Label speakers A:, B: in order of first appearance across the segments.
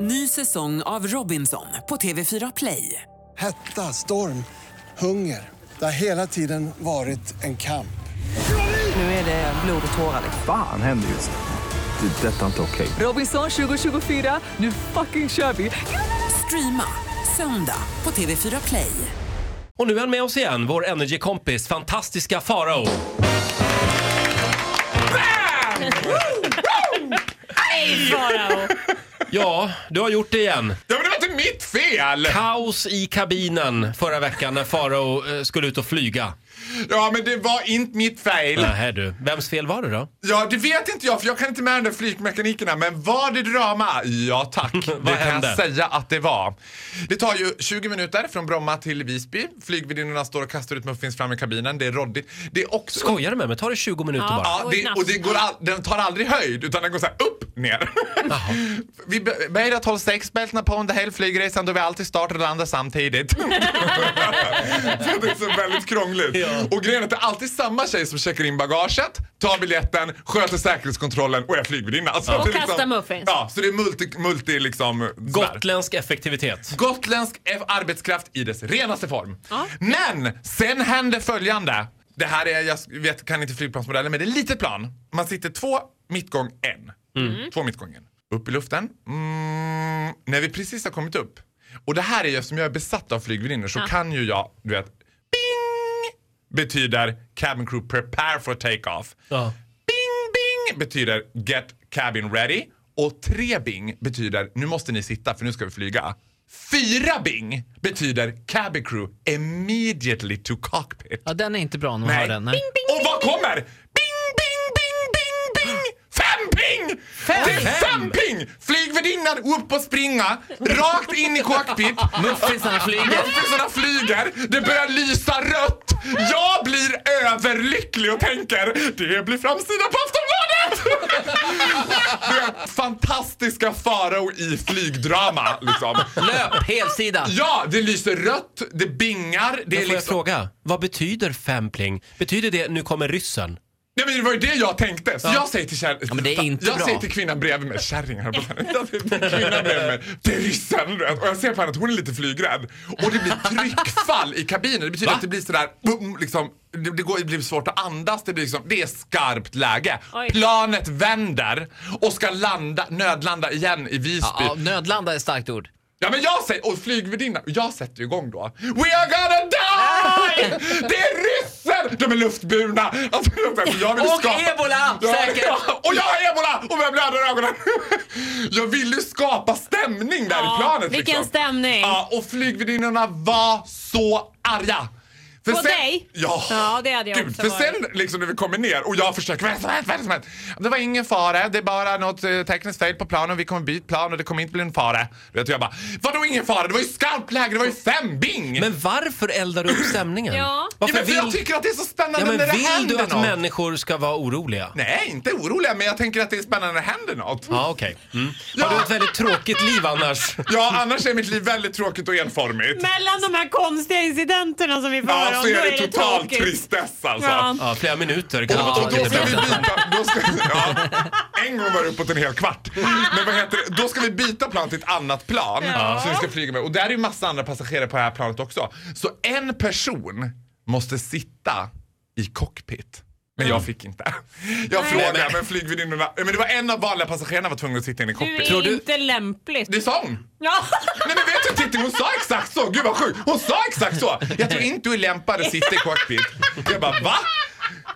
A: Ny säsong av Robinson på TV4 Play.
B: Hetta, storm, hunger. Det har hela tiden varit en kamp.
A: Nu är det blod och tårar. liksom.
C: Fan händer just nu. Det. är Detta är inte okej.
A: Robinson 2024, nu fucking kör vi! Streama söndag på TV4 Play.
D: Och nu är han med oss igen, vår energikompis, fantastiska Farao.
E: Farao.
D: Ja, du har gjort det igen.
F: Ja, men det var inte mitt fel!
D: Kaos i kabinen förra veckan när Farao eh, skulle ut och flyga.
F: Ja, men det var inte mitt fel.
D: Nähä du, vems fel var det då?
F: Ja, det vet inte jag för jag kan inte med den där flygmekanikerna. Men var det drama? Ja, tack. det kan
D: hände?
F: jag säga att det var. Det tar ju 20 minuter från Bromma till Visby. Flygvärdinnorna står och kastar ut muffins fram i kabinen. Det är roddigt. Det är också...
D: Skojar du med mig? Ta det 20 minuter
E: Ja.
D: bara.
F: Ja, det, och det går all, den tar aldrig höjd utan den går så här upp, ner. vi be- böjer att hålla säkerhetsbältena på under hela flygresan då vi alltid startar och landar samtidigt. så det är så väldigt krångligt. Och grejen är att det är alltid samma tjej som checkar in bagaget, tar biljetten, sköter säkerhetskontrollen och är flygvärdinna. Så det
E: Och
F: är liksom-
E: kastar muffins.
F: Ja, så det är multi, multi liksom. sådär.
D: Gotländsk effektivitet.
F: Gotländsk F- arbetskraft i dess renaste form. Men sen händer följande. Det här är, jag vet, kan inte flygplansmodellen, men det är litet plan. Man sitter två mittgång en. Två mittgång en. Upp i luften. Mm, när vi precis har kommit upp. Och det här är jag, som jag är besatt av flygvärdinnor så kan ju jag, du vet, bing betyder cabin crew prepare for take-off.
D: Ja.
F: Bing, bing betyder get cabin ready. Och tre bing betyder nu måste ni sitta för nu ska vi flyga. Fyra bing betyder cabin crew immediately to cockpit.
G: Ja, den är inte bra när man hör den. Nej.
F: Bing, bing, och vad kommer? Bing, bing, bing, bing, bing! Fem ping! Det är fem ping! Flygvärdinnan upp och springa, rakt in i cockpit.
G: Muffinsarna flyger.
F: Muffinsarna flyger, det börjar lysa rött. Jag blir överlycklig och tänker det blir framsidan på Aftonbladet! Det är fantastiska farao i flygdrama liksom.
G: Löp, helsida.
F: Ja, det lyser rött, det bingar,
D: Men
F: det
D: får
F: är
D: jag
F: liksom...
D: fråga, vad betyder fempling? Betyder det nu kommer ryssen?
F: Nej men det var ju det jag tänkte. Så jag säger till kär... ja,
G: men det är inte
F: Jag
G: bra.
F: säger till kvinnan bredvid mig, kärringen höll jag på att säga. Jag säger till kvinnan bredvid mig, det är ryssen du vet. Och jag ser på henne att hon är lite flygrädd. Och det blir tryckfall i kabinen. Det betyder att det blir sådär, boom, liksom, det, det, går, det blir svårt att andas. Det, blir liksom, det är skarpt läge.
E: Oj.
F: Planet vänder och ska landa, nödlanda igen i Visby.
G: Ja, nödlanda är ett starkt ord.
F: Ja men jag säger, och flygvärdinnan, jag sätter ju igång då. We are gonna die! Det är ryssen! De är luftburna! Alltså, jag vill
G: Och
F: skapa...
G: ebola,
F: Ja,
G: säkert.
F: ja, och jag har ebola! Och börjar blöda ur ögonen. Jag ville ju skapa stämning där i planet
E: vilken
F: liksom.
E: stämning.
F: Ja, och flygvärdinnorna var så arga. För
E: På dig?
F: Ja.
E: Ja, det hade jag
F: Gud,
E: också
F: för
E: varit.
F: sen liksom när vi kommer ner och jag försöker, vad är det som hänt, vad är det som hänt? Det var ingen fara, det är bara något eh, tekniskt fel på planen, vi kommer byta plan och det kommer inte bli en fara. Du vet, jag bara, vadå ingen fara? Det var ju skarpt läge, det var ju fem bing!
D: Men varför eldar du upp stämningen?
E: Ja.
F: ja,
D: Varför
F: men för jag
D: vill,
F: tycker att det är så spännande
D: ja, men
F: när det
D: vill
F: händer
D: du att
F: något.
D: människor ska vara oroliga?
F: Nej, inte oroliga, men jag tänker att det är spännande när det händer något.
D: Ja, okej. Mm. Har du ett väldigt tråkigt liv annars?
F: Ja, annars är mitt liv väldigt tråkigt och enformigt.
E: Mellan de här konstiga incidenterna som vi får höra
F: Ja,
E: om,
F: så
E: då
F: är det total
E: tråkigt.
F: tristess alltså.
E: Ja.
D: Ja, flera minuter kan det vara
F: Och då
D: tråkigt.
F: ska vi byta, då ska, ja, en gång var det uppåt en hel kvart. Men vad heter det? Då ska vi byta plan till ett annat plan som vi ska flyga med. Och där är ju massa andra passagerare på det här planet också. Så en person måste sitta i cockpit. Men jag fick inte. Jag frågade men flygvärdinnorna, men det var en av vanliga passagerarna var tvungen att sitta inne i
E: Du är
F: cockpit.
D: du-
E: inte lämpligt.
F: Det sa hon.
E: Ja.
F: Nej men vet du Titti, hon sa exakt så. Gud vad sjukt. Hon sa exakt så. Jag tror inte du är lämpad att sitta i cockpit. Jag bara va?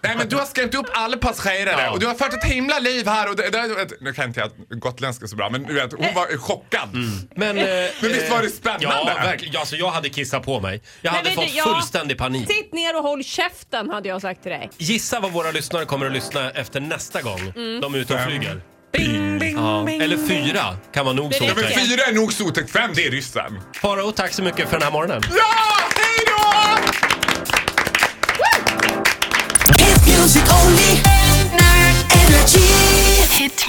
F: Nej men du har skrämt upp alla passagerare och du har fört ett himla liv här och det, det, Nu kan inte jag gotländska så bra men du vet, hon var chockad.
D: Men, eh,
F: Men visst var det spännande?
D: Ja, verkligen. Alltså, jag hade kissat på mig. Jag
E: Men
D: hade
E: vet du,
D: fått
E: ja.
D: fullständig panik.
E: Sitt ner och håll käften hade jag sagt till dig.
D: Gissa vad våra lyssnare kommer att lyssna efter nästa gång
E: Mm.
D: de är ute och
F: Fem.
D: flyger.
E: Bing, bing,
D: Ja.
E: bing.
D: Eller fyra kan vara nog
E: Det
D: så
E: räcker.
F: Men
D: otäckt.
F: fyra är nog så otäckt, fem det är ryssen.
D: Farao, tack så mycket för den här morgonen.
F: Ja, hej då!
H: Hit music only. Energy.
I: Hit